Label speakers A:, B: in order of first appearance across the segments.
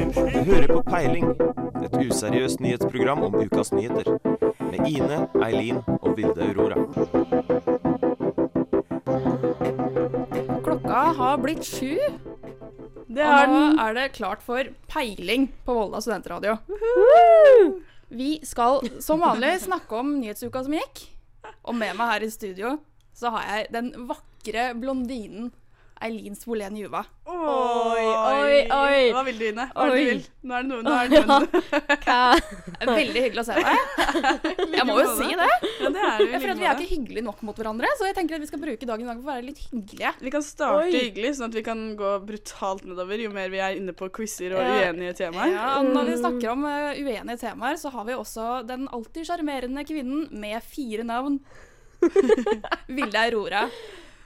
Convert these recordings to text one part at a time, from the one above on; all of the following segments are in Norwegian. A: Du hører på Peiling, et useriøst nyhetsprogram om ukas nyheter. Med Ine, Eileen og Vilde Aurora.
B: Klokka har blitt sju,
C: Det
B: og
C: er
B: nå
C: den.
B: er det klart for peiling på Volda studentradio. Vi skal som vanlig snakke om nyhetsuka som gikk. Og med meg her i studio så har jeg den vakre blondinen Eileen Svolén Juva.
C: Oi,
D: Oi, oi.
C: Hva vil du, Ine? Hva er det du
D: Oi.
C: vil? Nå er det noen, nå er det noen.
D: Hva?
B: Det er Veldig hyggelig å se deg. Jeg må jo si det.
C: Ja, det er det
B: Jeg føler
C: vi
B: at Vi
C: vil
B: er
C: med det.
B: ikke hyggelige nok mot hverandre, så jeg tenker at vi skal bruke dagen i dag på å være litt hyggelige.
C: Vi kan starte
D: Oi.
C: hyggelig, sånn at vi kan gå brutalt nedover jo mer vi er inne på quizer og
D: Ja.
C: uenige temaer.
B: Ja, og når vi snakker om eh, uenige temaer, så har vi også den alltid sjarmerende kvinnen med fire navn. Vilde Aurora.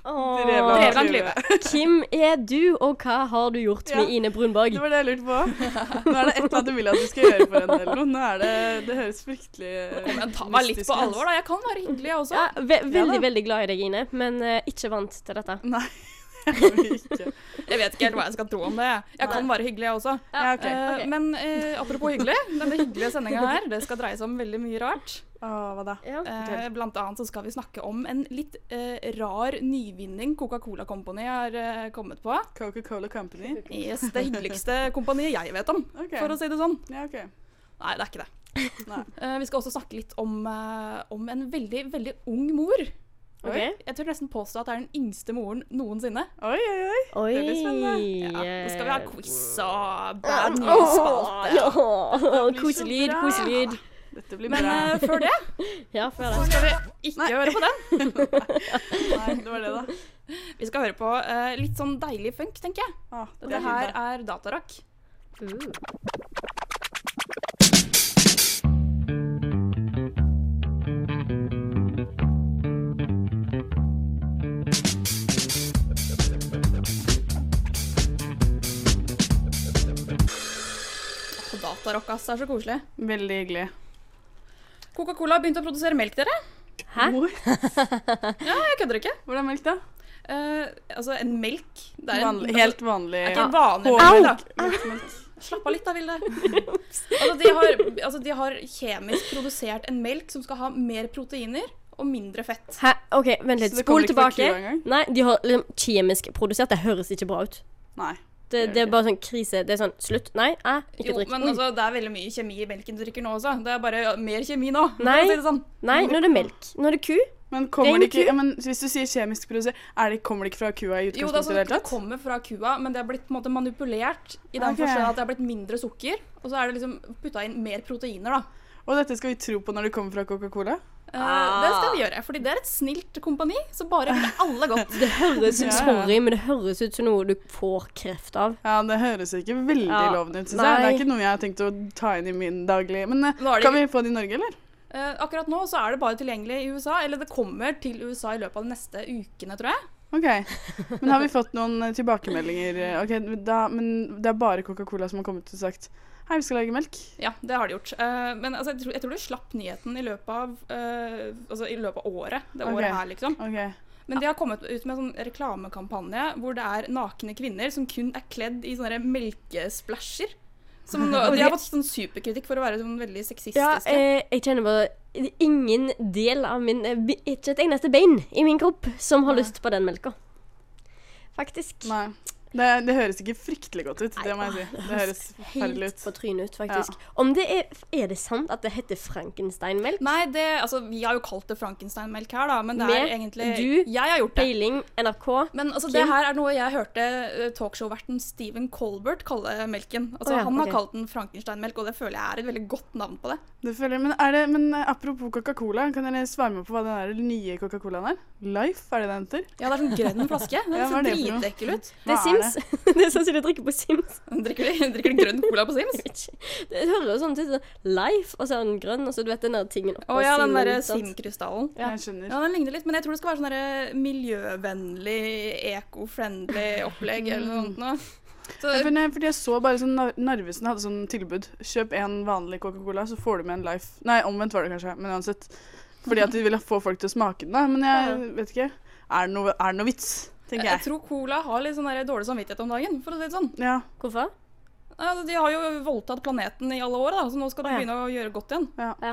C: Drevland
D: Åh.
B: Drevland
C: Klyve.
B: Klyve.
D: Hvem er du, og hva har du gjort
C: Ja.
D: med Ine Brunborg?
C: Det var det jeg lurte på. Nå er det et eller annet du vil at vi skal gjøre for henne eller noe. Nå er det, det høres fryktelig
B: Men ta meg litt på alvor, da. Jeg kan være hyggelig, jeg også.
D: Ja, ve veldig,
C: Ja da.
D: veldig glad i deg, Ine, men eh, ikke vant til dette.
C: Nei, det er vi ikke.
B: Jeg vet ikke helt hva jeg skal tro om det. jeg. Jeg kan være hyggelig, jeg også.
C: Ja, ok.
B: Eh,
D: ok.
B: Men eh, apropos hyggelig, denne hyggelige sendinga her, det skal dreie seg om veldig mye rart.
C: Åh, hva da?
D: Ja.
B: Eh, blant annet så skal vi snakke om en litt eh, rar nyvinning Coca-Cola Company har eh, kommet på.
C: Coca-Cola Company?
B: Yes, det hyggeligste kompaniet jeg vet om,
C: Ok.
B: for å si det sånn.
C: Ja, ok.
B: Nei, det er ikke det.
C: Nei.
B: Eh, vi skal også snakke litt om, eh, om en veldig, veldig ung mor.
D: Ok.
B: Jeg tør nesten påstå at det er den yngste moren noensinne.
C: Oi, oi, oi.
D: Oi. eh,
C: Det blir spennende.
B: Ja, nå skal vi ha quiz og
D: Åh,
B: bad news-spalte.
D: ja.
C: blir så
D: Koselyd,
C: bra.
D: koselyd.
C: Dette blir
B: Men
C: bra.
B: eh, før det
D: Ja, før det.
B: skal vi ikke
C: Nei.
B: høre på den.
C: Nei, det var det, da.
B: Vi skal høre på eh, litt sånn deilig funk, tenker jeg.
C: Ah, det
B: Dette
C: er
B: her
C: fint, da.
B: er Datarock.
D: Uh.
B: Åh, Datarock, ass. Det er så koselig.
C: Veldig hyggelig.
B: Coca-Cola har begynt å produsere melk, dere.
D: Hæ?
C: Hvor-
B: Ja, jeg kødder ikke.
C: Hvordan melk, da?
B: Eh, altså, en melk Det er en
C: Vanlig, helt vanlig.
B: Det er ikke vanlig
C: Au!
B: melk, da. Slapp av litt da, Vilde. Altså, de, har, altså, de har kjemisk produsert en melk som skal ha mer proteiner og mindre fett.
D: Hæ? OK, vent litt.
C: Så det kommer
D: Spol
C: ikke fra
D: tilbake.
C: kua engang?
D: Nei, de har liksom kjemisk produsert. Det høres ikke bra ut.
C: Nei.
D: Det,
C: Det gjør
D: det
C: det
D: er bare sånn krise. Det er sånn slutt. Nei, eh, ikke
B: Jo,
D: drikk.
B: men
D: Oi.
B: altså, det er veldig mye kjemi i melken du drikker nå også. Det er bare mer kjemi nå. for å
D: Nei.
B: Si det sånn.
D: Nei, nå er det melk. Nå er det ku.
C: Men kommer det
D: Ren ku?
C: ikke ja, men Hvis du sier kjemisk produsert, er det, kommer det ikke fra kua
B: Jo,
C: i
B: det, er
C: utgangspunktet i
B: sånn,
C: det hele
B: det
C: tatt?
B: kommer fra kua, men det er blitt på en måte manipulert i den
C: Ok.
B: forstand at det er blitt mindre sukker. Og så er det liksom putta inn mer proteiner, da.
C: Og dette skal vi tro på når det kommer fra Coca-Cola?
B: Eh, Det skal vi gjøre, fordi det er et snilt kompani, så bare gjør alle godt.
D: Det høres
C: Ja, ja.
D: Sorry, men det høres ut som noe du får kreft av.
C: Ja, Det høres ikke veldig
D: Ja.
C: lovende ut, syns jeg. Det
D: Nei.
C: er ikke noe jeg har tenkt å ta inn i min daglige Men eh,
B: Nå er det-
C: kan vi få det i Norge, eller?
B: Eh, akkurat nå så er det bare tilgjengelig i USA, eller det kommer til USA i løpet av de neste ukene, tror jeg.
C: OK. Men har vi fått noen eh, tilbakemeldinger? eh, Ok, da, Men det er bare Coca-Cola som har kommet og sagt Hei, vi skal lage melk.
B: Ja, det har de gjort. Eh, men altså, jeg, tror, jeg tror du slapp nyheten i løpet av, eh, altså, i løpet av året. Det
C: Ok.
B: året her, liksom.
C: OK.
B: Men de har kommet ut med en sånn reklamekampanje hvor det er nakne kvinner som kun er kledd i sånne melkesplasjer. Som, nå- de har fått sånn superkritikk for å være sånn veldig
D: Ja,
B: sexistiske.
D: eh, jeg kjenner bare det er ingen del av min eh, be- Ikke et eneste bein i min kropp som har
C: Nei.
D: lyst på den melka. Faktisk.
C: Nei. Det, det høres ikke fryktelig godt ut, det må jeg si. Det høres forferdelig
D: Helt
C: ut.
D: på trynet ut, faktisk. Om det er Er det sant at det heter Frankenstein-melk?
B: Nei, det, altså, vi har jo kalt det Frankenstein-melk her, da, men det er
D: Med
B: egentlig
D: du,
B: Jeg har gjort det.
D: Peiling, NRK.
B: Men altså,
D: Kim?
B: det her er noe jeg hørte eh, talkshow-verten Stephen Colbert kalle melken. Altså,
D: Å ja,
B: Han har
D: ok.
B: kalt den Frankenstein-melk, og det føler jeg er et veldig godt navn på det.
C: Det føler jeg, men, er det, men eh, apropos Coca-Cola, kan dere svare meg på hva den der nye Coca-Colaen er? Life, er det den heter?
B: Ja, det er sånn grønn flaske. Den
C: Ja, hva er
B: ser
C: det for noe?
B: dritekkel ut.
D: Det
C: Hva
D: er Sims. det er sånn som du drikker på Sims.
B: Drikker de, drikker de grønn cola på Sims?
D: Det hører jo sånn ut. sånn Life, og så er den grønn, og så du vet den der tingen oppå
B: Å ja, den derre
D: sant?
B: Sim-krystallen.
D: Ja.
C: Jeg skjønner.
B: Ja, den ligner litt, men jeg tror det skal være sånn derre miljøvennlig, eco-friendly opplegg eller noe sånt noe.
C: Ja,
B: Så
C: for nei, fordi jeg så bare sånn Nar- Narvesen hadde sånn tilbud. Kjøp en vanlig Coca-Cola, så får du med en Life. Nei, omvendt var det kanskje, men uansett. Fordi at de ville få folk til å smake den, da. Men jeg vet ikke. Er det noe, er det noe vits, tenker
B: jeg
C: jeg.
B: tror cola har litt sånn der dårlig samvittighet om dagen, for å si det sånn.
C: Ja.
D: Hvorfor?
B: Nei, altså, de har jo voldtatt planeten i alle år, da, så nå skal de
D: Å, ja.
B: begynne å gjøre godt igjen.
D: Ja.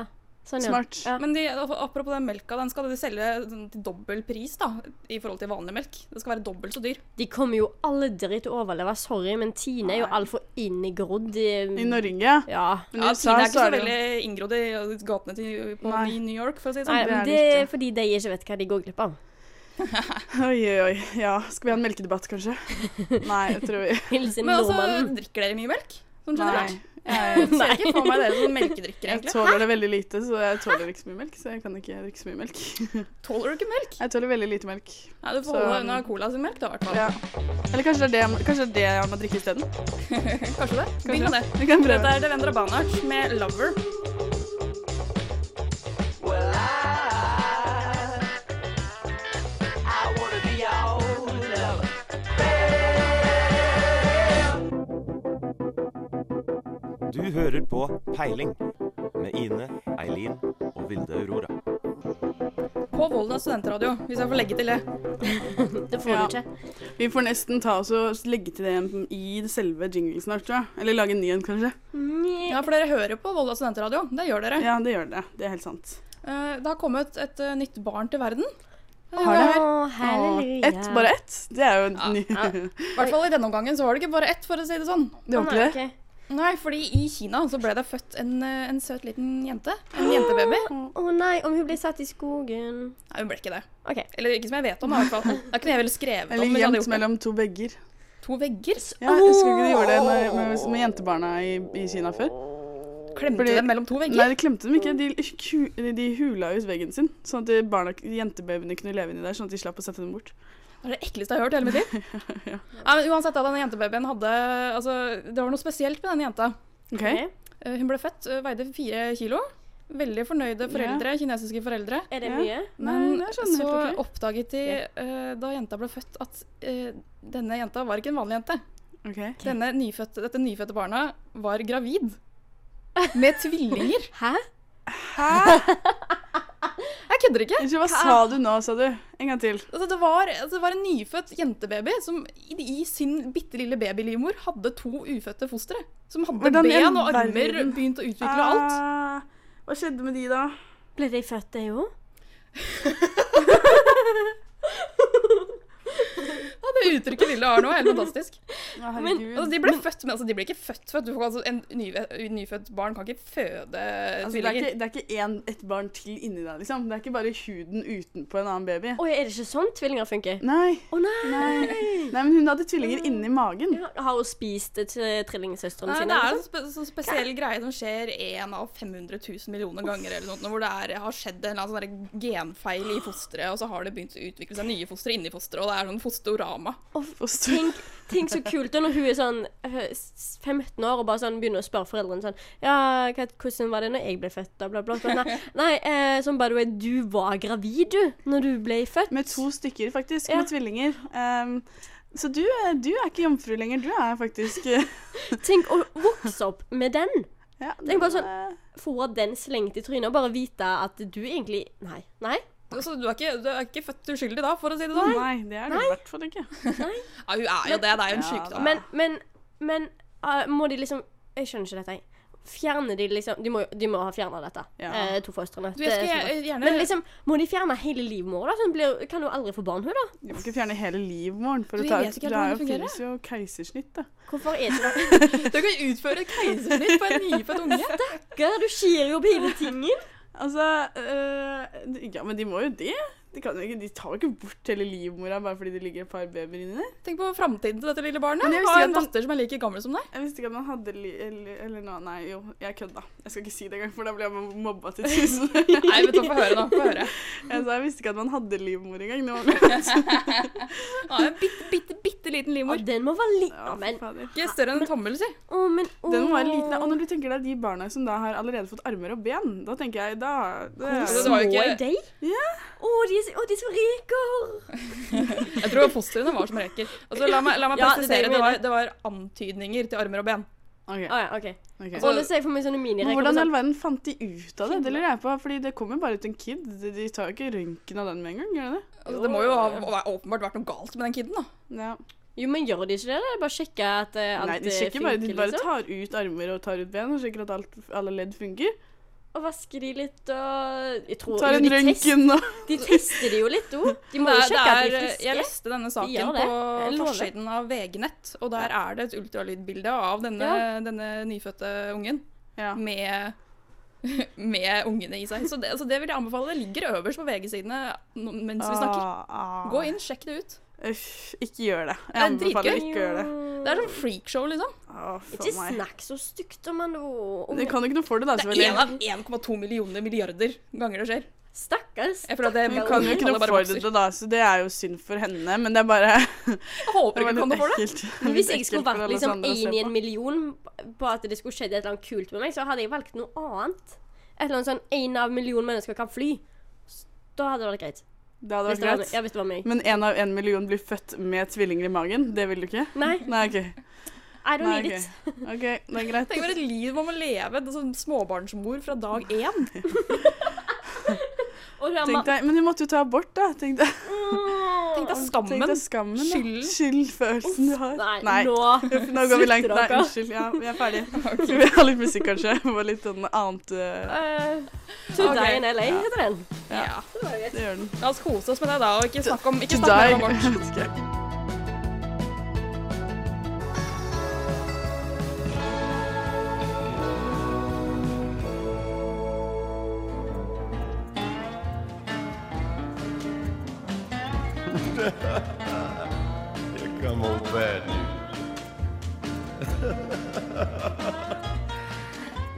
D: Sånn, ja.
C: Smart.
D: Ja.
B: Men de, apropos den melka, den skal de selge sånn til dobbel pris da, i forhold til vanlig melk. Det skal være dobbelt så dyr.
D: De kommer jo aldri til å overleve, sorry, men Tine er jo altfor inngrodd i
C: I Norge.
D: eh, Ja.
C: Men
B: ja,
C: i USA
B: Kina er ikke
C: så
B: så
C: er det
B: veldig inngrodd i gatene til, på
C: Nei.
B: i New York, for å si det
D: Nei,
B: sånn.
C: det er
D: men
C: det
D: det er
C: ikke.
D: fordi de ikke vet hva de går glipp av.
C: Oi, oi, oi. Ja. Skal vi ha en melkedebatt, kanskje? Nei, jeg tror vi
D: Hilsen
B: Men altså,
D: nordmannen.
B: drikker dere mye melk? Sånn
C: Nei.
B: generelt?
C: Jeg,
B: Jeg ser ikke for meg dere som melkedrikkere,
C: jeg
B: egentlig.
C: tåler det veldig lite, så jeg tåler ikke så mye melk. Så jeg kan ikke drikke så mye melk.
B: Tåler du ikke melk?
C: Jeg tåler veldig lite melk.
B: Nei, du får
C: Så-
B: holde deg unna cola sin melk, da, i hvert fall.
C: Ja. Eller kanskje det er det, jeg må- kanskje det er det jeg må drikke isteden?
B: Kanskje det? Begynn med det.
C: Vi kan prøve.
B: Dette er Devendra Banach med 'Lover'.
A: Du hører på Peiling med Ine, Eileen og Vilde Aurora.
B: På Volda studentradio, hvis jeg får legge til det.
D: Det får
C: Ja.
D: du ikke.
C: Vi får nesten ta oss og legge til det i selve jinglen snart, tror jeg. Eller lage en ny en, kanskje.
D: Nja.
B: Ja, for dere hører på Volda studentradio. Det gjør dere.
C: Ja, det gjør det. Det er helt sant.
B: Eh, Det har kommet et eh, nytt barn til verden.
C: Har det?
D: Å, halleluja.
C: Ett, bare ett? Det er jo en ny
D: ja.
B: I hvert fall i denne omgangen så var det ikke bare ett, for å si det sånn.
C: Det var
D: Å,
C: ikke
D: nei,
C: det?
D: ok.
B: Nei, fordi i Kina så ble det født en, eh, en søt liten jente. En jentebaby.
D: Å nei, om hun ble satt i skogen
B: Nei, hun ble ikke det.
D: OK.
B: Eller ikke som jeg vet om, da, i hvert fall. Det er ikke noe jeg ville skrevet om.
C: Eller
B: hvis jeg hadde
C: gjemt
B: gjort det.
C: mellom to vegger.
B: To vegger?
C: Ja, jeg husker ikke de gjorde det med, med, med jentebarna i, i Kina før.
B: Klemte
C: Fordi-
B: dem mellom to
C: Nei,
B: vegger?
C: de klemte dem ikke. De, ku- de hula ut veggen sin, sånn at de barna, jentebabyene kunne leve inni der, sånn at de slapp å sette dem bort.
B: Det er det ekleste jeg har hørt i hele mitt liv.
C: Ja.
B: Nei, men uansett, da, denne jentebabyen hadde Altså, det var noe spesielt med denne jenta.
C: Ok?
D: Ok.
B: Eh, Hun ble født, eh, veide fire kilo. Veldig fornøyde foreldre, kinesiske foreldre.
D: Er det
C: Ja.
D: mye?
C: Nei,
B: Men
C: det er sånn
B: så
C: helt ok.
B: oppdaget de eh, da jenta ble født, at eh, denne jenta var ikke en vanlig jente.
C: Ok.
B: Denne nyfødte, dette nyfødte barna var gravid. Med tvillinger.
D: Hæ?
C: Hæ?
B: Jeg kødder ikke.
C: Unnskyld, hva sa du nå, sa du? En gang til.
B: Altså, det, var, altså, det var en nyfødt jentebaby som i, i sin bitte lille babylivmor hadde to ufødte fostre. Som hadde
C: Hvordan i
B: ben og
C: all
B: armer,
C: verden?
B: begynt å utvikle alt.
C: Ah, Hva skjedde med de, da?
D: Ble de født, de òg?
B: Ja, det uttrykket Vilde har nå, er helt fantastisk.
C: Ja,
D: Men-
C: herregud.
B: Altså, de ble født, men altså, de ble ikke født født. Du får, altså, en ny, nyfødt barn kan ikke føde
C: Altså, det er
B: tvillinger.
C: ikke, det er ikke en, et barn til inni deg, liksom. Det er ikke bare huden utenpå en annen baby.
D: Oi, er det ikke sånn tvillinger funker?
C: Nei.
D: Å nei!
C: Nei. Nei, Mm. men hun hadde tvillinger inni magen.
D: Ja, Har hun spist det til trillingsøstrene
B: Nei,
D: sine?
B: det er en
D: liksom?
B: spe sånn spesiell greie som skjer én av 500 000 millioner ganger, eller noe, sånt, hvor det er, har skjedd en eller annen sånn der genfeil i fosteret, og så har det begynt å utvikle seg nye fostre inni fosteret, og det er sånn fosterorama.
C: Foster.
D: Tenk, tenk så kult da når hun er sånn eh, s- 15 år og bare sånn begynner å spørre foreldrene sånn Ja, hva, hvordan var det når jeg ble født? Da, bla, bla, bla. Nei, nei eh, sånn by the way, du var gravid, du, når du ble født.
C: Med to stykker, faktisk.
D: Ja.
C: Med tvillinger. Ehm, så du, er- du er ikke jomfru lenger. Du er faktisk eh,
D: Tenk å vokse opp med den.
C: ja,
D: Tenk bare sånn
C: eh,
D: Få den slengt i trynet og bare vite at du egentlig Nei. Nei.
B: Så du er, ikke, du er ikke født uskyldig da, for å si det sånn?
C: Nei, det er du i hvert fall ikke.
B: Ja, hun er jo det, det er jo en
C: Ja,
B: sykdom.
D: Men, men, men eh, må de liksom Jeg skjønner ikke dette, jeg. Fjerner de liksom De må, jo- de må ha fjerna dette,
C: Ja.
D: eh, to fostrene.
B: Du, jeg
D: til
B: skal
D: Solveig.
B: gjer- gjerne
D: Men liksom, må de fjerne hele livmora, da? Sånn blir, kan hun aldri få barn, hun, da?
C: Du må ikke fjerne hele livmoren. For
B: Du,
C: å
B: jeg
C: ta
B: vet
C: ut
B: ikke helt
C: Det
B: hvordan
C: er jo-
B: det fungerer.
C: finnes jo keisersnitt, da.
D: Hvorfor er det det?
B: Du kan utføre et keisersnitt på en nyfødt unge.
D: Stakkar, du skjer jo opp hele tingen.
C: Altså eh, de- Ja, men de må jo det. De, kan jo ikke, de tar jo ikke bort hele livmora bare fordi det ligger et par babyer inni der.
B: Tenk på framtiden til dette lille barnet.
C: Men jeg
B: Ha
C: visste ikke
B: en
C: at man-
B: datter som er like gammel som deg.
C: Jeg visste ikke at man hadde li... Eller, eller noe Nei, jo, jeg kødda. Jeg skal ikke si det engang, for da blir jeg mobba til tusen.
B: Nei, vet du, få høre nå. Få høre.
C: Jeg sa jeg visste ikke at man hadde livmor engang. Det var sånn,
B: Ja, en bitte, bitte, bitte liten
D: Ja,
B: livmor.
D: den må være liten.
C: Ja,
D: Ja, men,
C: fy fader.
B: Ikke større enn en tommel, si.
D: å, men å.
C: Den må være liten. Og når du tenker deg de barna som da har allerede fått armer og ben, da tenker jeg da det
D: Hvor
B: Altså, det var
C: er,
D: små
B: jo ikke-
D: er de?
C: Ja.
D: Å, de er så, å, de er så reker.
B: Jeg tror fostrene var som reker. Altså, la meg, la meg
D: Ja, det er det
B: presisere,
D: jeg
B: det var,
D: mener.
B: det var antydninger til armer og ben.
C: Ok,
D: Å ja, OK.
C: ok.
D: Og nå ser jeg for meg sånne
C: Men
D: minireker.
C: hvordan i
D: sånn-
C: all verden fant de ut av det? Det lurer jeg på, fordi det kommer bare ut en kid. De de tar jo ikke røntgen av den med en gang, gjør de det?
B: Altså, det må jo ha ha åpenbart vært noe galt med den kiden, da.
C: Ja.
D: Jo, men gjør de ikke det? da? Bare sjekke at eh, alt
C: Nei, de
D: eh,
C: sjekker
D: funker,
C: bare, de bare
D: liksom?
C: tar ut armer og tar ut ben og sjekker at alt, alle ledd funker.
D: Og vasker de litt og Jeg tror
C: Tar
D: jo,
C: en
D: de, test,
C: røntgen og
D: de tester de jo litt òg. De må jo
B: Det
D: sjekke at
B: er-
D: de
B: det
D: er
B: er- Jeg
D: friske.
B: leste denne
D: De gjør
B: saken
D: det. Jeg
B: på
D: lover.
B: forsiden av VG-nett, og der er det et ultralydbilde av denne,
D: Ja.
B: denne nyfødte ungen
C: ja.
B: Mm, med, med ungene i seg. Så det, altså det vil jeg anbefale. Det ligger øverst på VG-sidene nå- mens vi snakker.
C: Ah, ah.
B: Gå inn, sjekk det ut.
C: Uff, ikke gjør det.
B: Det er
C: Jeg anbefaler
B: dritgøy.
C: ikke å gjøre det.
B: Det er sånn freakshow, liksom.
C: Å, faen
D: Ikke
C: meg.
D: snakk så stygt om han
C: Du
D: nå.
C: kan jo ikke noe for det, da,
B: Altså, Det er én
C: selvfølgelig.
B: av 1,2 millioner milliarder ganger det skjer.
D: Stakkars.
B: Jeg føler at det
C: Hun kan jo ikke noe
B: tallet bare
C: for
B: vokser.
C: det, da, så det er jo synd for henne, men det er bare
B: Jeg håper ikke
C: det
B: du
C: var
B: kan
C: litt
B: noe for det.
C: ekkelt.
D: Men Hvis
C: Litt
D: jeg
C: ekkelt for
D: skulle vært
C: alle
D: liksom
C: andre å se
D: én i en
C: på.
D: million på at det skulle skjedd et eller annet kult med meg, så hadde jeg valgt noe annet. Et eller annet sånn én av en million mennesker kan fly. S- Da hadde det vært greit.
C: Det hadde vært
D: Hvis det var,
C: greit.
D: ja, hvis det var meg.
C: Men én av en million blir født med tvillinger i magen? Det vil du ikke?
D: Nei,
C: Nei, OK.
D: I don't
C: Nei,
D: need
C: ok.
D: it.
C: OK, det er greit.
B: Tenk bare et liv man må leve sånn som småbarnsmor fra dag én.
D: Og da,
C: Tenk
D: ma-
C: deg, men hun måtte jo ta abort, da. Tenk deg,
B: Tenk deg
C: tenk
B: skammen.
C: deg skammen. da.
B: Skylden.
C: Skyldfølelsen du har.
D: Nei,
C: Nei.
D: nå
C: Uff, Nå går vi langt.
D: slutter
C: Nei,
D: dere.
C: unnskyld. Ja, vi er ferdige. Skal vi ha litt musikk, kanskje? Det var litt sånn annet eh,
D: Eh, To
B: Ok.
D: Die in LA heter den.
B: Ja.
C: Det gjør den.
B: La oss kose oss med det, da, og ikke snakke om, ikke
C: To
B: snakke mer om
C: die.
B: abort.
C: Jeg vet ikke.
E: Here come old bad news.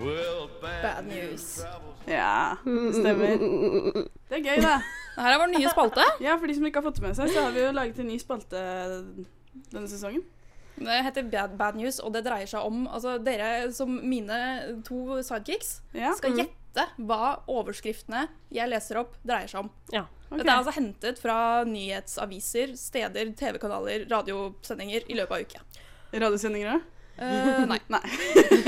E: well, bad,
B: Bad news.
E: travels
C: Ja, stemmer. Det er gøy, da.
B: Det her er vår nye spalte.
C: Ja, For de som ikke har fått det med seg, så har vi jo laget en ny spalte denne sesongen.
B: Det heter Bad, Bad News, og det dreier seg om altså, dere som mine to sidekicks
C: Ja,
B: skal gjette hva overskriftene jeg leser opp, dreier seg om.
C: ok.
B: Dette er altså hentet fra nyhetsaviser, steder, TV-kanaler, radiosendinger i løpet av uka.
C: Radiosendinger òg?
B: Eh, nei.
C: Nei.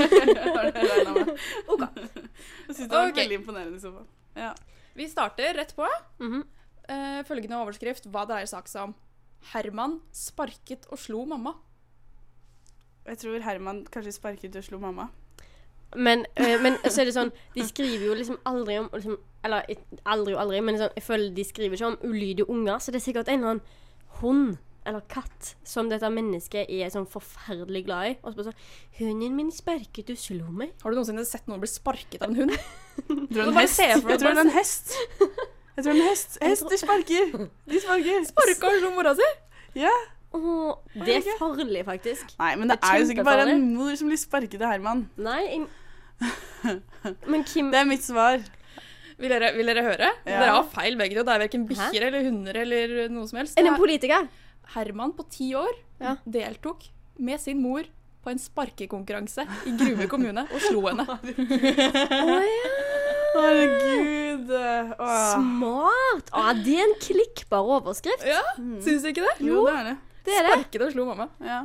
C: Har du regnet med?
D: Ok.
C: Jeg syns det var
B: Ok.
C: veldig imponerende i så fall. Ja.
B: Vi starter rett på.
D: Mhm.
B: Eh, følgende overskrift. Hva dreier saken seg om? Herman sparket og slo mamma.
C: Jeg tror Herman kanskje sparket og slo mamma.
D: Men, eh, men så er det sånn De skriver jo liksom aldri om liksom, Eller eh, aldri og aldri, men sånn, jeg føler de skriver ikke om ulydige unger, så det er sikkert en eller annen hund eller katt som dette mennesket er sånn forferdelig glad i. Og så bare sånn 'Hunden min sparket og slo meg.'
B: Har du noensinne sett noen bli sparket av en hund?
C: Jeg tror
B: Men
C: en
B: bare
C: hest.
B: se for deg-
C: Jeg tror det er en hest. Jeg tror det er en hest. Hester sparker. De sparker.
B: Sparka og slo mora si!
C: Ja.
D: Åh, det er farlig, faktisk.
C: Nei, men det
D: Det er
C: er jo sikkert bare en
D: kjempefarlig.
C: mor som blir sparket av Herman.
D: Nei, jeg... Men Kim
C: Det er mitt svar.
B: Vil dere, vil dere høre?
C: Ja.
B: Dere har feil begge to. Det er verken
D: Hæ?
B: bikkjer eller hunder eller noe som helst.
D: Er det en
B: Det
D: politiker?
B: er Herman på ti år
D: Ja.
B: deltok med sin mor på en sparkekonkurranse i Grue kommune og slo henne.
D: Å ja!
C: Herregud. Åh.
D: Smart! Å, det er en klikkbar overskrift.
B: Ja, Syns du ikke det?
C: Jo, det er det.
D: Det er det.
B: Sparket og slo mamma.
C: Ja.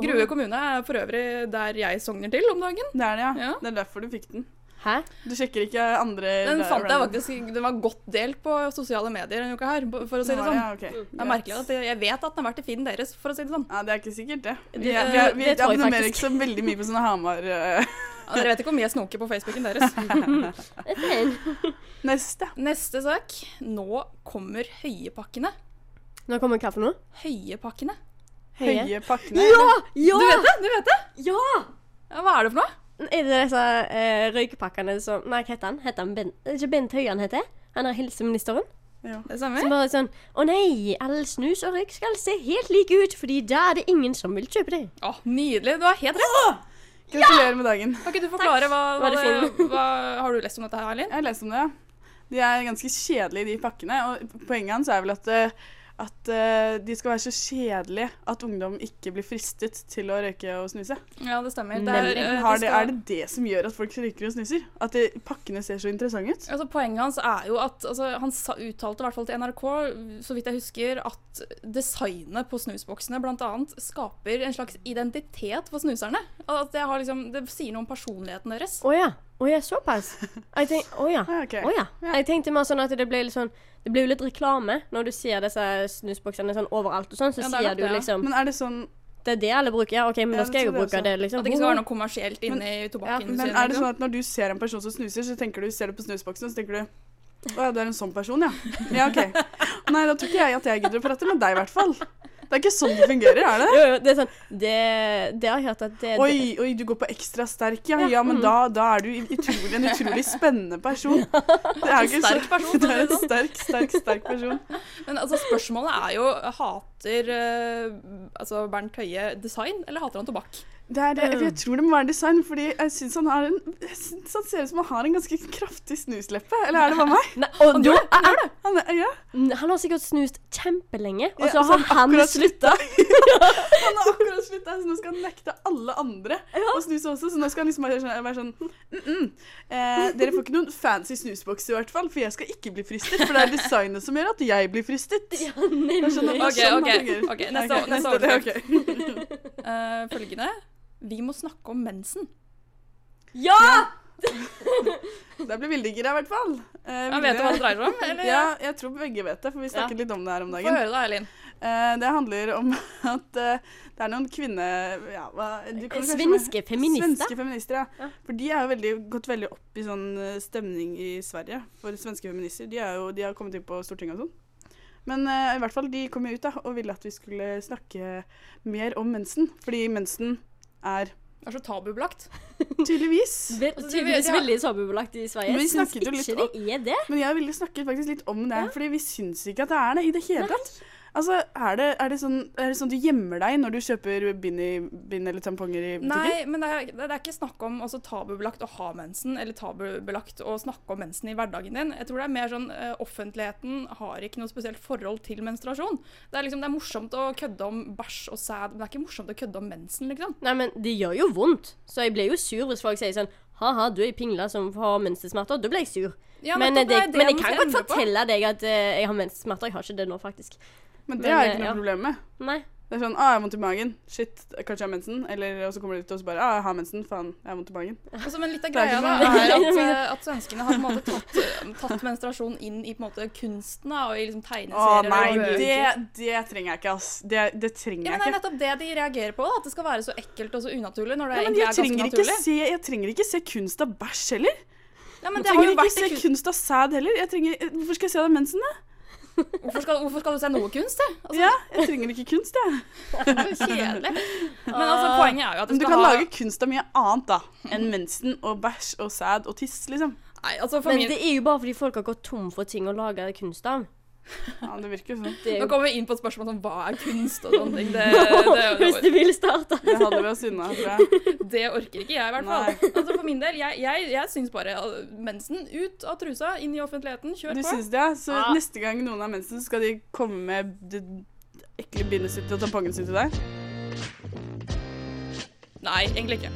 B: Grue kommune er for øvrig der jeg sogner til om dagen.
C: Det er det, ja.
B: Ja.
C: Det er derfor du fikk den.
D: Hæ?
C: Du sjekker ikke andre
B: Den
C: der-
B: fant jeg
C: random.
B: faktisk, den var godt delt på sosiale medier denne uka her, for å si det
C: Ja,
B: sånn.
C: ja, ok.
B: Det er merkelig at jeg, jeg vet at den har vært i feeden deres, for å si det sånn.
C: Ja, det er ikke sikkert, det. Vi,
D: Det-
C: er- vi, er- vi
D: det tror jeg
C: abonnerer
D: faktisk.
C: ikke så veldig mye på sånne Hamar eh.
B: Ja, Dere vet ikke hvor mye jeg snoker på Facebooken deres.
C: Neste.
B: Neste sak. Nå kommer høyepakkene.
D: Nå kommer kaffen nå.
B: Høyepakkene.
D: Høye.
C: Høye pakkene.
D: Ja!
B: Du vet det? du vet det?
D: Ja!
B: Ja, hva er det for noe?
D: Er det disse eh, røykepakkene som Nei, hva heter han? Heter han Bent? Er det ikke Bent Høie han heter? Han er helseministeren.
B: Det
D: Som
B: stemmer.
D: bare sånn Å nei, all snus og røyk skal se helt like ut, fordi da er det ingen som vil kjøpe det.
B: Å, nydelig. Du har helt rett.
C: Gratulerer med dagen.
B: Kan ikke du forklare hva, hva,
D: Var det
B: det, hva Har du lest om dette her, Erlin?
C: Jeg har lest om det, ja. De er ganske kjedelige, de pakkene. Og poenget hans er vel at, eh, at eh, de skal være så kjedelige at ungdom ikke blir fristet til å røyke og snuse.
B: Ja, det stemmer. Det
D: Nemlig.
B: eh, det
C: Har det,
B: skal-
C: er det det som gjør at folk røyker og snuser? At eh, pakkene ser så interessante ut?
B: Altså, poenget hans er jo at altså, Han sa, uttalte i hvert fall til NRK, så vidt jeg husker, at designet på snusboksene bl.a. skaper en slags identitet for snuserne. At det, har liksom, det sier noe om personligheten deres.
D: Å ja. Å ja, såpass? Jeg tenk- Å ja.
B: Ah,
C: Ja, ok.
D: Å ja.
C: Ja.
D: Jeg tenkte mer sånn at det ble litt sånn Det ble jo litt reklame når du ser disse snusboksene sånn overalt og sånn, så
B: Ja, det er
D: sier
B: nok
D: du
B: det, ja.
D: liksom
C: Men er det sånn
D: Det er det alle bruker, ja. OK, men
C: Ja,
D: da skal jeg
C: jeg tror
D: jo
C: det
D: bruke
C: også.
D: det, liksom.
B: At det ikke skal være noe kommersielt inne i
C: Men
B: tobakkindustrien.
C: er det
B: liksom.
C: sånn at når du ser en person som snuser, så tenker du, ser du på snusboksen, så tenker du Å ja, du er en sånn person, ja. Ja, OK. Nei, da tror ikke jeg at jeg gidder å prate med deg, i hvert fall. Det er ikke sånn det fungerer, er det?
D: Jo, jo, det er sånn Det, det har jeg hørt at det, det
C: Oi, oi, du går på ekstra sterk, ja. Mm. Ja, men da, da er du utrolig, en utrolig spennende person. Det er jo ikke
B: Sterk person,
C: så,
B: for å si
C: det er
B: det
C: en
B: sånn.
C: sterk, sterk, sterk person.
B: Men altså, spørsmålet er jo Hater eh, altså Bernt Høie design, eller hater han tobakk?
C: Det er, jeg, jeg tror det må være design, fordi jeg syns han, har en- jeg synes han ser ut som han har en ganske kraftig snusleppe. Eller er det bare meg?
D: Nei, og da er det
C: Han, er- ja.
D: Han har sikkert snust kjempelenge, og
C: Ja,
D: så
C: og så
D: har
C: har han
D: han
C: akkurat
D: slutta.
C: Han har akkurat slutta, så nå skal han nekte alle andre å snuse også. Så nå skal han liksom være sånn, være sånn mm -mm. Eh, Dere får ikke noen fancy snusboks i hvert fall, for jeg skal ikke bli fristet. For det er designet som gjør at jeg blir fristet. Det er sånn at- det er
B: Ok,
C: sånn
B: ok,
C: han fungerer.
B: ok, neste-
C: Ok,
B: neste
C: det er ok.
B: Eh, følgende Vi må snakke om mensen.
D: Ja!
C: Det blir villdiggere i hvert fall. Eh,
B: Jeg vet du hva det
C: Vilde-
B: dreier seg om? Eller?
C: Ja, jeg tror begge vet det, for vi snakket
B: Ja.
C: litt om det her om
B: Få
C: dagen.
B: høre da, Eileen.
C: Eh, det handler om at eh, det er noen kvinne... Ja, hva, du kan kanskje-
D: Svenske feminister.
C: Svenske feminister, ja.
D: Ja.
C: For de er jo veldig, gått veldig opp i sånn eh, stemning i Sverige. For svenske feminister, de, er jo, de har kommet inn på Stortinget og sånn. Men eh, i hvert fall, de kom jo ut da, og ville at vi skulle snakke mer om mensen. Fordi mensen er
B: Det er så tabubelagt.
C: tydeligvis
D: Vel-
B: Så de-
D: Tydeligvis
B: de har-
D: veldig sabubelagt i Sverige.
C: Men vi
D: Jeg syns
C: snakket jo litt
D: ikke det er det.
C: Men jeg ville snakke faktisk litt om det, fordi vi syns ikke at det er det i det hele tatt. Altså, er det, er, det sånn, er det sånn du gjemmer deg når du kjøper bind, i, bind eller tamponger i butikken?
B: Nei, men det er, det er ikke snakk om altså, tabubelagt å ha mensen, eller tabubelagt å snakke om mensen i hverdagen din. Jeg tror det er mer sånn eh, Offentligheten har ikke noe spesielt forhold til menstruasjon. Det er liksom, det er morsomt å kødde om bæsj og sæd, men det er ikke morsomt å kødde om mensen, liksom.
D: Nei, men det gjør jo vondt. Så jeg blir jo sur hvis folk sier sånn Ha-ha, du er ei pingle som har mensensmerter. Da blir jeg sur.
B: Ja,
D: men, eh,
B: nettopp,
D: det,
B: er
D: men jeg
B: man
D: kan
B: skal
D: godt
B: endre på.
D: fortelle deg at eh, jeg har mensensmerter. Jeg har ikke det nå, faktisk.
C: Men det
D: Men,
C: har jeg ikke
D: eh,
C: noe
D: ja.
C: problem med.
D: Nei.
C: Det er sånn, ah, jeg har vondt i magen. Shit, kanskje jeg har mensen. Eller, og så kommer de ut og så bare, ah, jeg har mensen. Faen, jeg har vondt i magen.
B: Altså, men litt av
C: Det er
B: greia
C: ikke
B: da,
C: sånn-
B: er at, eh, at svenskene har på en måte tatt, eh, tatt menstruasjon inn i på en måte kunsten da, og i liksom
C: Å
B: tegneserier.
C: nei,
B: og bøker.
C: det, det trenger jeg ikke, ass. Det, det trenger
B: Ja, men Det er
C: jeg ikke.
B: nettopp det de reagerer på. da, At det skal være så ekkelt og så unaturlig. når det
C: Ja, men
B: egentlig
C: jeg
B: er ganske
C: trenger, ikke
B: naturlig.
C: se, jeg trenger ikke se kunst av bæsj heller.
B: Ja, men det har
C: Jeg trenger
B: jo
C: ikke
B: vært
C: se
B: en kun-
C: kunst av sæd heller. Jeg trenger, eh, hvorfor skal jeg se av mensen, da?
B: hvorfor, skal, hvorfor skal du se noe kunst? Det? Altså,
C: Ja, jeg trenger ikke kunst, jeg.
B: så Kjedelig. Men altså, poenget er jo at du
C: Men du
B: skal
C: kan
B: ha
C: lage kunst av mye annet, da. Enn mensen og bæsj og sæd og tiss, liksom.
B: Nei, altså, for
D: Men
B: min...
D: det er jo bare fordi folk har gått tom for ting å lage kunst av.
C: Ja, det virker jo sånn.
D: Det er
B: Nå
D: jo
B: kommer vi inn på et spørsmål om hva er kunst og sånne ting. Det,
D: Eh,
B: det,
D: Hvis
B: det,
D: du vil starte.
C: Det holder vi oss unna, tror jeg.
B: det orker ikke jeg, i hvert fall.
C: Nei.
B: Altså, for min del, jeg, jeg, jeg syns bare uh, mensen ut av trusa, inn i offentligheten, kjør
C: Du
B: på.
C: syns det, ja? Så
D: Ja.
C: neste gang noen har mensen, så skal de komme med det ekle bindet sitt og tampongen sin til deg?
B: Nei, egentlig ikke.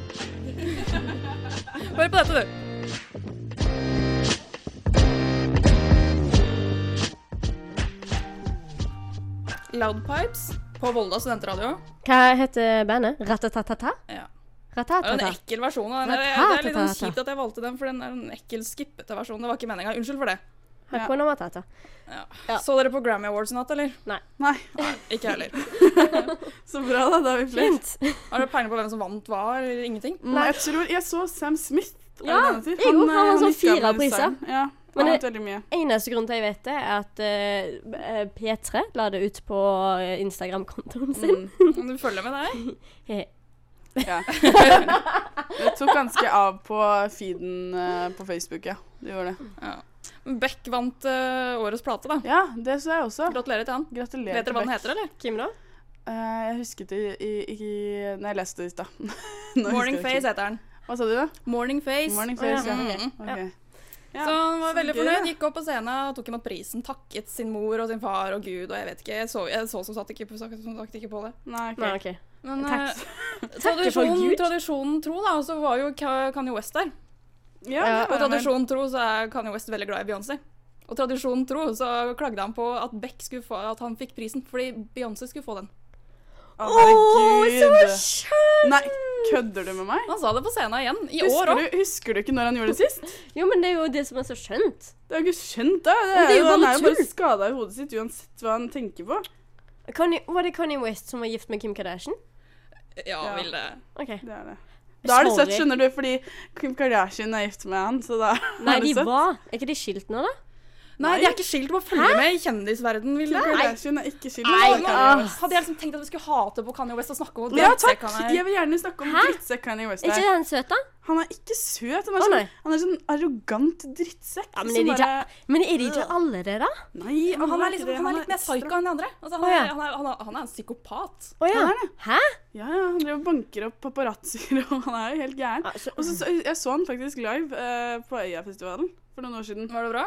B: Hør på dette, du. Loudpipes på Volda studentradio.
D: Hva heter bandet? Ratatatata?
B: Ja.
D: Ratatata.
B: Det er en ekkel versjon av den. Det er, det er litt sånn kjipt at jeg valgte den, for den er en ekkel, skippete versjon. Det var ikke meninga. Unnskyld for det.
D: Hakuna Matata. Ja.
B: Så dere på Grammy Awards i natt, eller?
C: Nei.
B: Ikke jeg heller.
C: Så bra, da. Da er vi flere.
D: Flint.
B: Har dere peiling på hvem som vant hva, eller ingenting?
C: Mm, jeg tror jeg så Sam Smith. er det
D: Ja,
C: det han heter?
D: jeg òg. Han
C: eh,
D: har sånn
C: gikk av
D: fire
C: med
D: priser.
C: sang. Ja,
D: Men
C: han har
D: det-
C: hatt veldig mye.
D: Eneste grunn til jeg vet det, er at eh, eh, P3 la det ut på eh, Instagram-kontoen sin.
C: Mm,
B: Om du følger med der?
D: Eh,
C: ja. Det tok ganske av på feeden eh, på Facebook, ja. Det gjorde det.
B: Ja. Beck vant eh, årets plate, da.
C: Ja, det så jeg også.
B: Gratulerer til han.
C: Gratulerer.
B: Vet dere hva den
C: Beck.
B: heter, eller?
D: Hvem da?
C: Eh, jeg husket det i, i, i Nei, jeg leste det i stad. Nå husker
B: Morning
C: jeg det ikke.
B: Face heter den.
C: Hva sa du, da?
B: Morning Face.
C: Morning
D: Å, ja.
C: Face, ja.
B: Mm.
C: Ok. Ja,
B: Så han var veldig
C: gøy,
B: fornøyd.
C: da.
B: Gikk opp på scenen og tok imot prisen. Takket sin mor og sin far og Gud og jeg vet ikke. Jeg så, jeg så som, sagt ikke, som sagt ikke på det.
C: Nei, ok.
D: Nei, OK.
B: Men
D: Takk.
B: eh,
D: Takke for
B: tradisjonen,
D: Gud.
B: tradisjonen tro, da, så var jo Ka- Kanye West der.
C: Ja,
D: Ja,
C: det
B: Og
C: var det vel.
B: tradisjonen tro så er Kanye West veldig glad i Beyoncé. Og tradisjonen tro så klagde han på at Beck skulle få, at han fikk prisen fordi Beyoncé skulle få den.
C: Å,
D: Åh, så
C: herregud.
D: skjønt!
C: Nei, kødder du med meg?
B: Han sa det på scenen igjen, i år
C: Husker
B: òg.
C: du, husker du ikke når han gjorde det sist?
D: Jo, men det er jo det som er så skjønt.
C: Det er jo ikke skjønt, da. Det
D: Men
C: er,
D: det er jo
C: jo, han
D: bare
C: er jo bare
D: tull.
C: skada i hodet sitt uansett hva han tenker på.
D: Kanye, var det Kanye West som var gift med Kim Kardashian?
B: Ja,
C: Ja.
B: Vilde.
D: OK.
C: Det er det. Da er det søtt,
D: Sorry.
C: skjønner du, fordi Kim Kardashian er gift med han, så da
D: Nei,
C: er
D: de
C: det søtt.
D: var Er ikke de skilt nå, da?
B: Nei, de er ikke skilt. Du må følge med i kjendisverden,
C: Kim
B: Vilde.
C: Kardashian er ikke skilt.
B: Nei,
C: Nei,
B: Kanye
C: ah.
B: West. Hadde jeg liksom tenkt at vi skulle hate på Kanye West og snakke om hvor
C: Ja,
B: drittsekk
C: takk.
B: han er.
C: Jeg vil gjerne snakke om
D: Hæ?
C: drittsekk Kanye West
D: Er ikke
C: er.
D: han søt, da?
C: Han er ikke søt. Han
D: Å,
C: er sånn,
D: nei.
C: han er sånn arrogant drittsekk.
D: Ja, men
C: som
D: er de
C: bare-
D: ikke, men er de ikke alle det, da?
C: Nei,
B: Han, er
C: ikke
B: liksom,
C: det.
B: han er litt mer
C: ekstra.
B: psyko enn de andre. Altså, han,
D: Å, ja.
B: er, han, er, han, er, han er en psykopat.
D: Å ja.
C: Han er det.
D: Hæ?
C: Ja, ja, han driver og banker opp paparazzoer, og han er jo helt gæren.
D: Altså,
C: Og så, så, jeg så han faktisk live eh, på Øyafestivalen for noen år siden.
B: Var det bra?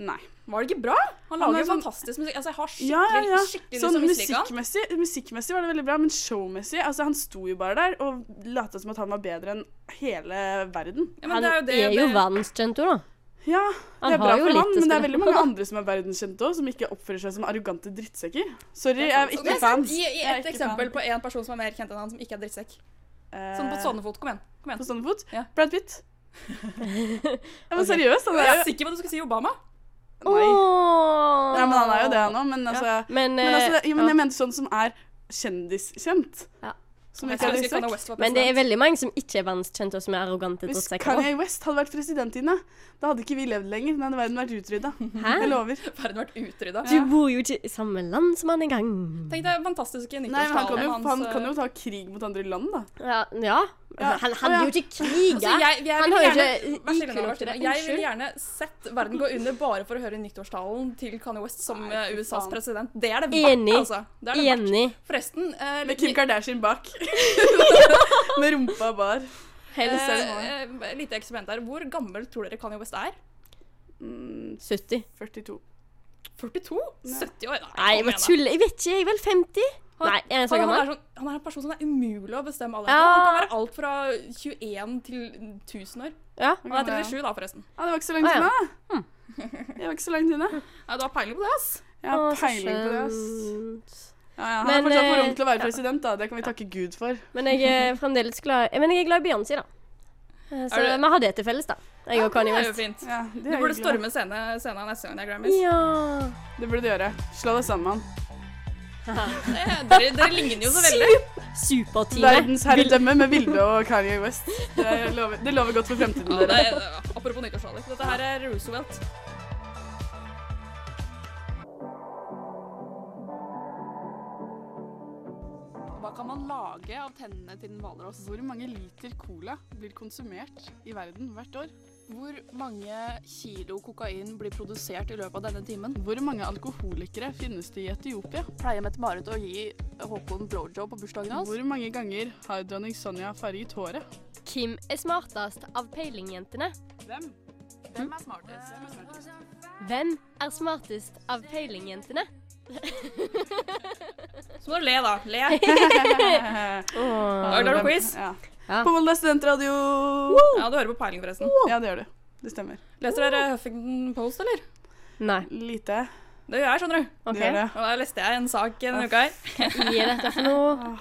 C: Nei.
B: Var det ikke bra? Han
C: Han
B: lager
C: er sånn-
B: fantastisk musikk. Altså, jeg har skikkelig,
C: Ja, ja, ja.
B: skikkelig
C: Sånn
B: lyst til å mislike han.
C: musikkmessig, musikkmessig var det veldig bra, men showmessig altså Han sto jo bare der og lata som at han var bedre enn hele verden.
B: Ja, men
D: han
B: det er jo det, det-
D: verdenskjent, da.
C: Ja,
D: Han
C: det er
D: har
C: bra
D: jo
C: for han,
D: litt å
C: men det
D: spille
C: er veldig
D: på,
C: mange
D: da.
C: andre som er verdenskjente òg, som ikke oppfører seg som arrogante drittsekker. Sorry,
B: Det er
C: jeg er
B: Det
C: ikke
B: er sant.
C: fan.
B: Gi, gi
C: Jeg er
B: et
C: ikke
B: eksempel
C: fan.
B: på en person som er mer kjent enn han, som ikke er drittsekk. Sånn på
C: Eh,
B: stående fot. Kom igjen. Kom
C: På
B: igjen.
C: stående fot?
B: Ja.
C: Brad Pitt. Ja, men
D: Ok.
C: seriøst, han
B: Jeg
C: er
B: er
C: jo
B: sikker på at du skal si Obama.
C: Nei.
D: Åh.
C: Ja, men han er jo det, han òg, men altså
D: Men,
C: Men, altså, det,
D: eh,
C: jo, men
D: ja.
C: jeg mente sånn som er kjendiskjent.
D: Ja.
C: Som
B: Jeg
C: ikke
B: skulle
C: er
B: ønske Kanye
C: drittsekk.
B: West var
D: men det er
B: president.
D: veldig mange som ikke er verdenskjente, og som er arrogante.
C: Hvis
D: drittsekker også.
C: Kanye West hadde vært president, Ine, da hadde ikke vi levd lenger. Da hadde verden vært utrydda.
D: Hæ?
C: Jeg lover.
B: Verden vært utrydda.
D: Du bor jo ikke i samme land som han engang.
B: Tenk deg fantastiske
C: Nei, men han kan, jo,
B: nyttårstalen
C: han kan jo
B: hans. eh,
C: ta krig mot andre land, da.
D: Ja. ja.
C: Ja.
D: Han hadde jo ikke kriga.
B: Altså, jeg, jeg,
D: Han
B: vil
D: har jo
B: gjerne,
D: ikke-
B: Vær så snill,
D: ikke
B: Anna
D: lov til
B: Martine. jeg
D: det.
B: ville
D: Unnskyld.
B: gjerne sett verden gå under bare for å høre nyttårstalen til Kanye West som
C: Nei,
B: eh,
C: fy
B: USAs
C: faen.
B: president. Det er det verdt,
D: Enig.
B: altså. Det er det verdt.
D: Enig.
B: Forresten eh,
C: Med Kim Kardashian bak. Med rumpa bar.
D: Helst
B: eh,
D: er det
B: eh, lite eksperiment her. Hvor gammel tror dere Kanye West er?
C: Mm,
D: 70.
C: 42.
B: 42? 70 år?
D: Nei, jeg må tulle. Jeg vet ikke. Jeg er vel 50? Nei, er jeg så
B: Han, han,
D: gammel?
B: er sånn, han er en person som det er umulig å bestemme alderen.
D: Ja.
B: på. Han kan være alt fra 21 til 1000 år.
D: Ja.
B: Han er 37 da, forresten.
C: Ja, det var ikke så langt
D: Ah, ja.
C: unna. Det var ikke så langt unna.
B: Nei, du har peiling på det, ass.
C: Jeg har
D: Å, så
C: peiling på det. ass.
D: skjønt.
C: Ja, ja, han
D: Men,
C: har fortsatt for
D: eh,
C: rom til å være president, da. Det kan vi takke Gud for.
D: Men jeg er fremdeles glad jeg, men jeg er glad i Beyoncé, da. Eh, Så
B: Er du-
D: vi har det til felles, da. Jeg og Kanye
B: Det er jo
D: West.
B: fint.
C: Ja, det
B: Du
C: er
B: burde
C: hyggelig.
B: storme scene- scenen neste gang det er Grammys.
D: Ja.
C: Det burde du gjøre. Slå deg sammen.
B: Eh, Dere, dere ligner jo så veldig.
D: Supertime.
C: Verdensherredømme med Vilde og Kanye West. Det lover, det lover godt for fremtiden,
B: Ja, det
C: dere.
B: er, apropos nyttårstaler. Dette her er Roosevelt.
C: Hva kan man lage av tennene til en hvalross? Hvor mange liter cola blir konsumert i verden hvert år? Hvor mange kilo kokain blir produsert i løpet av denne timen? Hvor mange alkoholikere finnes det i Etiopia? Pleier Mette-Marit å gi Håkon blowjob på bursdagen hans? Hvor mange ganger har dronning Sonja farget håret?
D: Kim er smartest av peilingjentene.
C: Hvem? Hvem er smartest?
D: Hvem er smartest av peilingjentene?
B: Så må du le, da. Le.
D: Åh.
B: Da klarer du quiz.
C: Ja.
D: Ja.
C: På Volda studentradio.
B: Ja, du hører på peiling, forresten.
C: Ja, det gjør du. Det stemmer.
B: Leser dere Huffington Post, eller?
D: Nei.
C: Lite.
B: Det gjør jeg, skjønner du.
D: OK.
C: Det gjør det.
B: Og da leste jeg en sak denne uka her.
D: Gi dette for noe.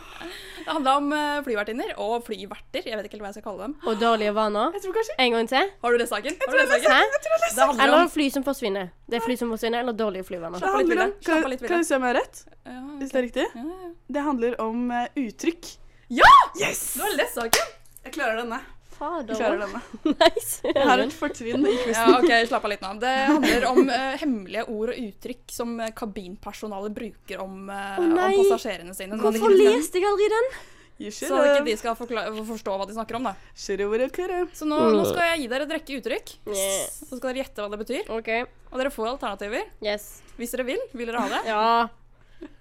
B: Det handla om eh, flyvertinner og flyverter. Jeg vet ikke helt hva jeg skal kalle dem.
D: Og dårlige vaner.
C: Jeg tror kanskje
D: En gang til.
B: Har du lest saken? Har du lest saken?
D: Hæ?
B: Det handler
D: Eller
B: om
D: fly som forsvinner. Det er fly som forsvinner, eller dårlige flyvaner.
B: Slapp av litt,
C: handler
B: Vilde.
C: om-
B: Slapp av
C: Kan,
B: litt,
C: kan
B: Vilde.
C: jeg se om jeg har rett?
B: Ja,
C: Hvis det er riktig?
B: ja, ja.
C: Det handler om eh, uttrykk.
B: Ja!
C: Yes!
B: Du har lest saken?
C: Jeg klarer denne. Jeg klarer
D: Fader.
C: denne.
D: Nice.
C: Jeg har et fortrinn i quizen.
B: Ja, OK, slapp av litt nå. Det handler om eh, hemmelige ord og uttrykk som eh, kabinpersonalet bruker om, eh,
D: Å,
B: om
D: nei.
B: passasjerene sine. sånn at de
D: Hvorfor
B: ikke-
D: leste jeg aldri den?
C: You should
B: Så ikke
C: have.
B: de skal forkla- forstå hva de snakker om, da.
C: Should have, would have, could have.
B: Så nå, nå skal jeg gi dere et rekke uttrykk.
D: Yeah.
B: Så skal dere gjette hva det betyr.
D: OK.
B: Og dere får alternativer.
D: Yes.
B: Hvis dere vil. Vil dere ha det?
D: Ja.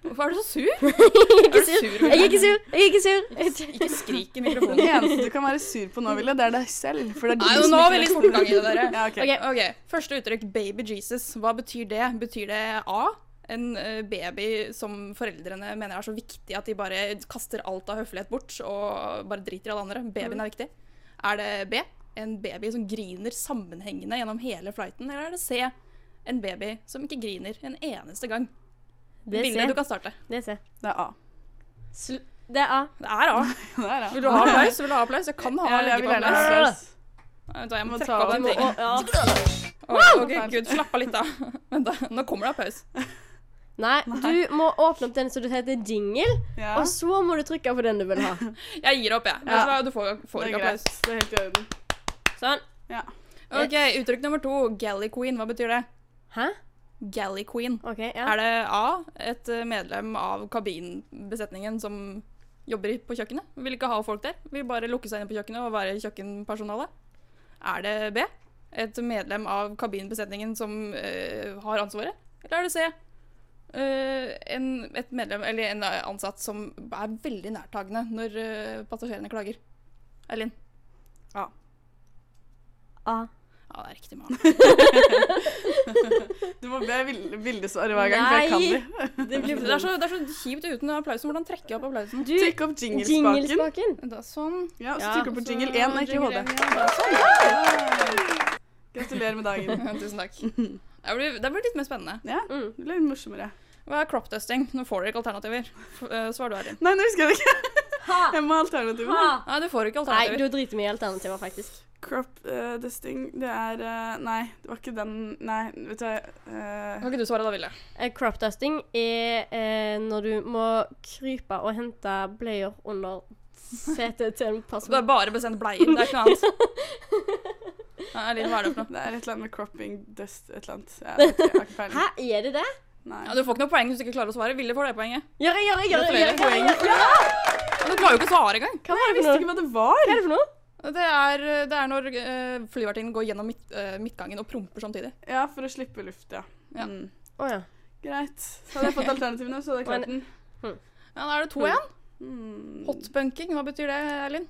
B: Hvorfor er du så sur?
D: Jeg
B: Er du sur,
D: er ikke sur. Jeg er ikke sur. Jeg er ikke sur.
B: Ikke skrik i
C: Det
B: mikrofonen.
C: eneste du kan være sur på nå, Ville, det er deg selv. For det er du
B: Nei,
C: som
B: nå
C: ikke
B: vil
C: vet-
B: jeg fortgang i det, dere.
C: Ja, ok.
D: Ok.
B: OK, første uttrykk, baby Jesus. Hva betyr det? Betyr det A? En eh, baby som foreldrene mener er så viktig at de bare kaster alt av høflighet bort og bare driter i alle andre. Babyen
C: Mm.
B: er viktig. Er det B? En baby som griner sammenhengende gjennom hele flighten. Eller er det C? En baby som ikke griner en eneste gang.
D: Det
B: Vilde,
D: ser.
B: du kan starte.
D: Det ser.
C: Det er A.
D: Sl det er A.
B: Det er A.
C: Der, ja.
B: Vil du ha applaus? Vil du ha applaus? Jeg kan ha
C: Ja, jeg
B: like
C: vil
B: på
C: gjerne
B: applaus.
C: ha applaus.
B: Nei, vent da, Jeg må
C: Må
B: trekke
C: ta
B: av
C: av
B: en
D: Vi
B: ting.
D: må, å, ja.
B: Oi, ok, gud, slapp av litt, da. Vent, da. Nå kommer det applaus.
D: Nei, du må åpne opp den som du heter jingle,
C: Ja,
D: og så må du trykke på den du vil ha.
B: Jeg gir opp, jeg. Vet
C: Ja.
B: du hva, Du får,
C: det
B: får
C: er
B: ikke
C: greit.
B: applaus.
C: Det er helt i orden.
D: Sånn.
C: Ja.
B: Ok, Uttrykk nummer to. Galley queen. Hva betyr det?
D: Hæ?
B: Galley queen.
D: OK. Ja.
B: Er det A, et eh, medlem av kabinbesetningen som jobber i- på kjøkkenet? Vil ikke ha folk der. Vil bare lukke seg inne på kjøkkenet og være kjøkkenpersonale. Er det B, et medlem av kabinbesetningen som eh, har ansvaret? Eller er det C, eh, en, et medlem, eller en ansatt som er veldig nærtagende når eh, passasjerene klager? Eileen?
D: A.
B: Ja, det er riktig. Mann.
C: Du må be vil- bildesvare hver gang, for jeg kan
D: Nei.
C: det.
D: Det
B: Det er, så, det er så kjipt uten applausen. Hvordan trekker jeg opp applausen?
D: Du,
C: Trykk opp jinglespaken.
D: jinglespaken.
B: Da, sånn.
C: Ja, så
D: Ja,
C: trykker du på jingle 1, og ikke HD. Sånn, Gratulerer med dagen.
B: Tusen takk. Det blir, det blir litt mer spennende.
C: Ja,
D: Mm.
C: det ble morsommere.
B: Hva er crop dusting? Nå får dere ikke alternativer. F- eh, Svar du, Eirin.
C: Nei, nå husker jeg det ikke.
D: Ha.
C: Jeg må ha alternativer.
D: Ha.
B: Nei, du får ikke
D: Nei,
B: alternativer.
D: du driter meg i alternativer, faktisk.
C: Crop eh, dusting, det er eh, Nei, det var ikke den Nei, vet du hva eh,
B: Kan ikke du svare, da, Ville?
D: Eh, Crop dusting er eh, når du må krype og hente bleier under setet til en
B: Så det
D: person.
B: er bare bestemt bleie. Det er ikke noe annet. Nei, Eirin, hva er det for noe?
C: Det er et eller annet med cropping dust et eller annet. Jeg vet ikke, jeg har ikke peiling.
D: Hæ, er det det?
C: Nei.
B: Ja, du får ikke noe poeng hvis du ikke klarer å svare. Ville får det poenget.
D: Gjør jeg, gjør jeg, gjør jeg, gjør
B: Gratulerer.
D: jeg, gjør jeg, gjør jeg.
B: Ja, Du klarer jo ikke å svare engang.
D: Hva var
C: Jeg
D: det
C: visste
D: for
C: ikke
D: noe?
C: hva det var.
D: Hva er det for noe?
B: Det er, eh, det er når uh, flyvertinnen går gjennom midt, eh, midtgangen og promper samtidig.
C: Ja, for å slippe luft, ja.
B: Ja.
C: Mm.
D: Å ja.
C: Greit. Så hadde jeg fått alternativene, så hadde jeg klart den.
B: Ja, Da er det to igjen.
C: Mm.
B: Hotpunking, hva betyr det, Eirin?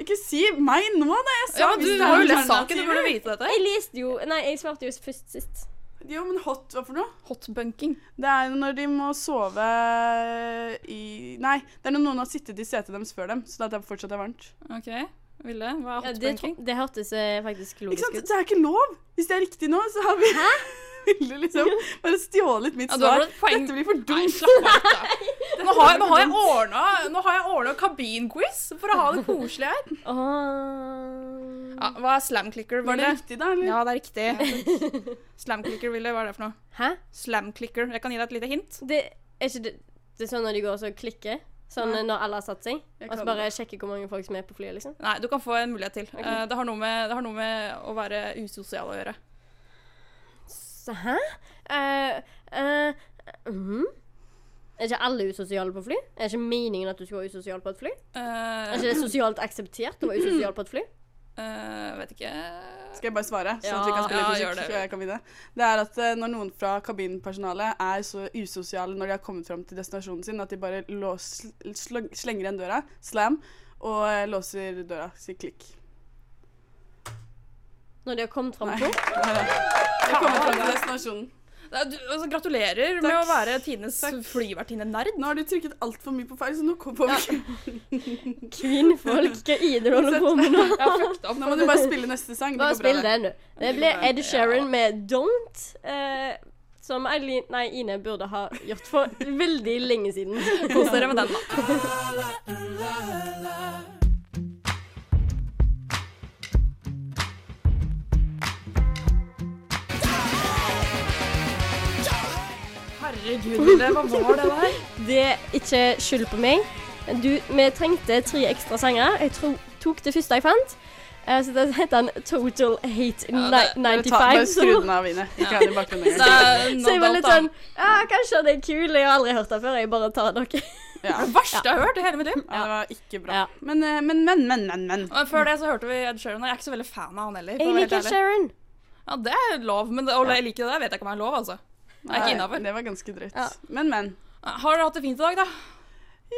C: Ikke si meg nå, da! Jeg sa
B: Ja, men
C: hvis
B: du
C: det er
B: har jo lest
C: alternativer.
B: saken, du burde vite dette.
D: Jeg leste jo Nei, jeg svarte jo først sist.
C: Jo, men hot, hva for noe?
B: Hotbunking.
C: Det er jo når de må sove i Nei, det er når noen har sittet i setet deres før dem, så det er fortsatt er varmt.
B: Ok, Ville, hva er
D: Ja, det,
B: hotbunking?
D: tro- det hørtes eh, faktisk
C: Ikke
D: logisk
C: sant?
D: ut.
C: Det er ikke lov! Hvis det er riktig nå, så har vi Ville liksom bare stjålet mitt
B: Ja, du har
C: svar.
B: fått poeng.
C: Dette blir for
B: Nei,
C: dumt.
B: slapp av litt, da. Nå har, nå har jeg ordna, nå har jeg ordna kabinquiz for å ha det koselig her.
D: Åh.
B: Ja, hva er slamclicker,
C: Var det
B: Ville?
C: riktig, da? Eller?
B: Ja, det er riktig. Slamclicker, Ville, hva er det for noe?
D: Hæ?
B: Slamclicker. Jeg kan gi deg et lite hint.
D: Det er ikke det, det er sånn når de går og så klikker? Sånn
C: Nei.
D: når alle har satt seg?
C: Jeg
D: Og så
C: kan
D: bare sjekker hvor mange folk som er på flyet, liksom?
B: Nei, du kan få en mulighet til. Eh, Det har noe med, det har noe med å være usosial å gjøre.
D: Så, hæ? Eh, eh, mhm. Er ikke alle usosiale på fly? Er ikke meningen at du skal være usosial på et fly? Er ikke
B: Uh,
D: det sosialt akseptert å være usosial på et fly?
B: eh, vet ikke
C: Skal jeg bare svare, sånn at vi
D: Ja,
C: kan spille
B: ja,
C: litt
B: gjør
C: musikk?
B: det.
C: og jeg kan vinne? Det er at eh, når noen fra kabinpersonalet er så usosiale når de har kommet fram til destinasjonen sin, at de bare lås, sl slenger igjen døra, slam, og eh, låser døra, sier klikk.
D: Når de har kommet fram
C: Nei.
D: på?
C: Der, ja. De har kommet fram til destinasjonen.
B: Nei, du, altså, Gratulerer med
C: Takk.
B: å være tidenes
C: Takk.
B: flyvertinne-nerd.
C: Nå har du trykket altfor mye på feil, så nå kom- får vi ikke
D: Kvinnfolk, hva er det du holder på med nå?
B: Jeg har fucked opp.
C: Nå må du bare spille neste sang. Det
D: Bare
C: går bra,
D: spill
C: det.
D: den, du. Det ble Ed Sheeran med Don't. eh, som Eileen, nei, Ine burde ha gjort for veldig lenge siden.
B: Kos dere med den, da. Herregud, Ville, hva var det der?
D: Det er ikke skyld på meg. Du, vi trengte tre ekstra sanger. Jeg tro, tok det første jeg fant. Eh, så det heter han Total Hate
B: det-
D: ni-
C: Bare, ta, bare
D: 95.
C: skru
D: Så,
C: den av, Ine. Ikke ha den i bakgrunnen
B: Det
C: engang.
B: er
D: så jeg var
B: Nadal,
D: litt
B: da.
D: sånn Ja, kanskje det er kul. Jeg har aldri hørt det før. Jeg bare tar dere.
C: Ja.
B: Det verste jeg har hørt i hele mitt liv.
C: ja, det var ikke bra.
D: Ja.
C: Men, eh, men, men, men, men. men.
B: Men før det så hørte vi Ed Sheeran, og jeg er ikke så veldig fan av han heller. for å
D: Jeg
B: være helt
D: liker
B: ærlig.
D: Sharon.
B: Ja, det er lov, men det, og jeg liker det der, vet jeg ikke om jeg er lov, altså. Det er
C: Nei,
B: ikke innafor.
C: Det var ganske drøyt.
D: Ja.
C: Men, men.
B: Har dere hatt det fint i dag, da?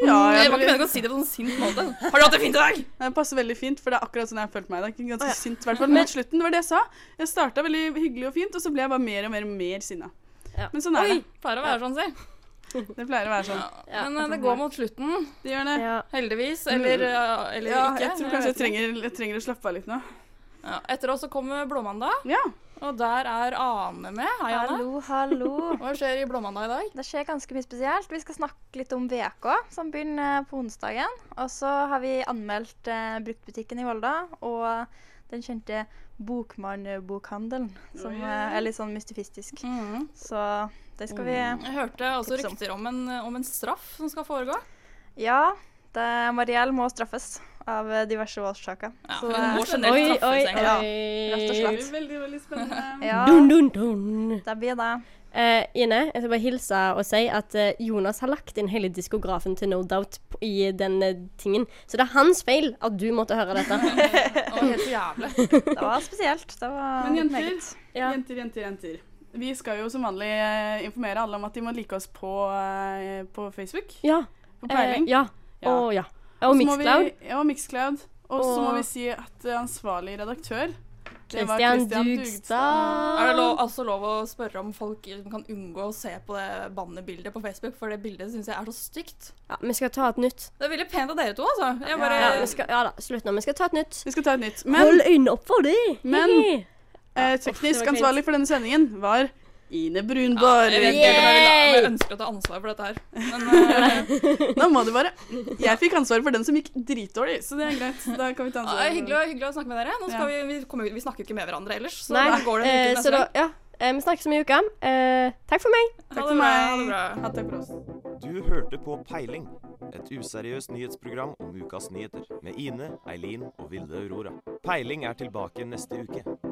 C: Ja,
B: Jeg
C: jeg
B: var ikke
C: ble-
B: meningen å si Mm, det på en sånn sint måte. Har dere hatt det fint i dag?
C: Nei, Det passer veldig fint, for det er akkurat sånn jeg har følt meg i dag. Ganske sint, i hvert fall
D: Men-
C: mot slutten. Det var det jeg sa. Jeg starta veldig hyggelig og fint, og så ble jeg bare mer og mer og mer sinna.
D: Ja.
C: Men sånn er
B: Oi, pleier å være sånn, si.
C: det. Det pleier å være sånn.
D: Ja,
B: Men eh, det går mot slutten,
C: Det gjør det.
D: Ja.
B: heldigvis. Eller, eh, eller
C: Ja,
B: ikke.
C: jeg tror kanskje
B: vet
C: jeg trenger, jeg trenger å slappe av litt nå.
B: Ja, etter oss så kommer Blåmandag,
C: Ja.
B: og der er Ane med. Hei, Ane.
F: Hallo, hallo.
B: Hva skjer i Blåmandag i dag?
F: Det skjer ganske mye spesielt. Vi skal snakke litt om VK, som begynner på onsdagen. Og så har vi anmeldt eh, bruktbutikken i Volda og den kjente Bokmann-bokhandelen, som eh, er litt sånn mystifistisk.
B: Mm.
F: Så det skal vi
B: Jeg hørte også
F: Tipsom.
B: rykter om en, om en straff som skal foregå.
F: Ja, det, Mariell må straffes av eh, diverse årsaker.
B: Ja,
F: Så,
B: hun må
F: eh,
B: generelt
D: Oi,
B: straffes,
D: oi,
B: egentlig.
F: Ja,
D: oi.
F: rett og
C: Det
F: slett.
C: blir veldig, veldig spennende.
F: ja,
D: Dun, dun, dun.
F: det blir det.
D: Eh, Ine, jeg skal bare hilse og si at eh, Jonas har lagt inn hele diskografen til No Doubt p- i den eh, tingen. Så det er hans feil at du måtte høre dette.
B: Det var helt jævlig.
F: Det var spesielt. Det var
C: Men jenter,
F: meget.
D: Ja.
C: Jenter, jenter, jenter. Vi skal jo som vanlig eh, informere alle om at de må like oss på, eh, på Facebook.
D: Ja.
C: På
D: Eh,
C: peiling.
D: ja.
C: Ja.
D: Og ja. Og
C: Så må vi-
D: Mixcloud.
C: Ja, Mixcloud. Og så må
D: Og-
C: vi si at eh, ansvarlig redaktør det var
D: Christian
C: Christian
D: Dugstad.
B: Er det lov, altså lov å spørre om folk kan unngå å se på det bannebildet på Facebook? For det bildet syns jeg er så stygt.
D: Ja, vi skal ta et nytt.
B: Det er veldig pent av dere to, altså. Jeg bare,
D: Ja, vi skal, ja da, slutt nå. Vi skal ta et nytt.
C: Vi skal ta et nytt. Men
D: Hold øynene opp for det!
C: Men-
D: Hihi.
C: eh,
D: det var
C: teknisk
D: kleint.
C: ansvarlig for denne sendingen var Ine Brunborg.
B: jeg vet ikke om jeg, vil, om jeg ønsker å ta ansvar for dette her. Men eh,
C: Nå må du bare Jeg fikk ansvaret for den som gikk dritdårlig, så det er greit. Da kan vi ta
B: ja, det er
C: ansvaret.
B: hyggelig, å- hyggelig å snakke med dere. Nå skal vi, vi, kommer, jo- vi snakker jo ikke med hverandre ellers. Så
D: Nei,
B: da går det en uke til
D: eh, så
B: neste
D: da,
B: gang.
D: ja. Eh, vi snakkes om en uke. Eh, takk for meg.
B: Ha
C: Takk
B: det
C: for
B: bra.
C: meg.
B: Ha det bra.
C: Ja, takk for oss.
A: Du hørte på Peiling, et useriøst nyhetsprogram om ukas nyheter, med Ine, Eileen og Vilde Aurora. Peiling er tilbake neste uke.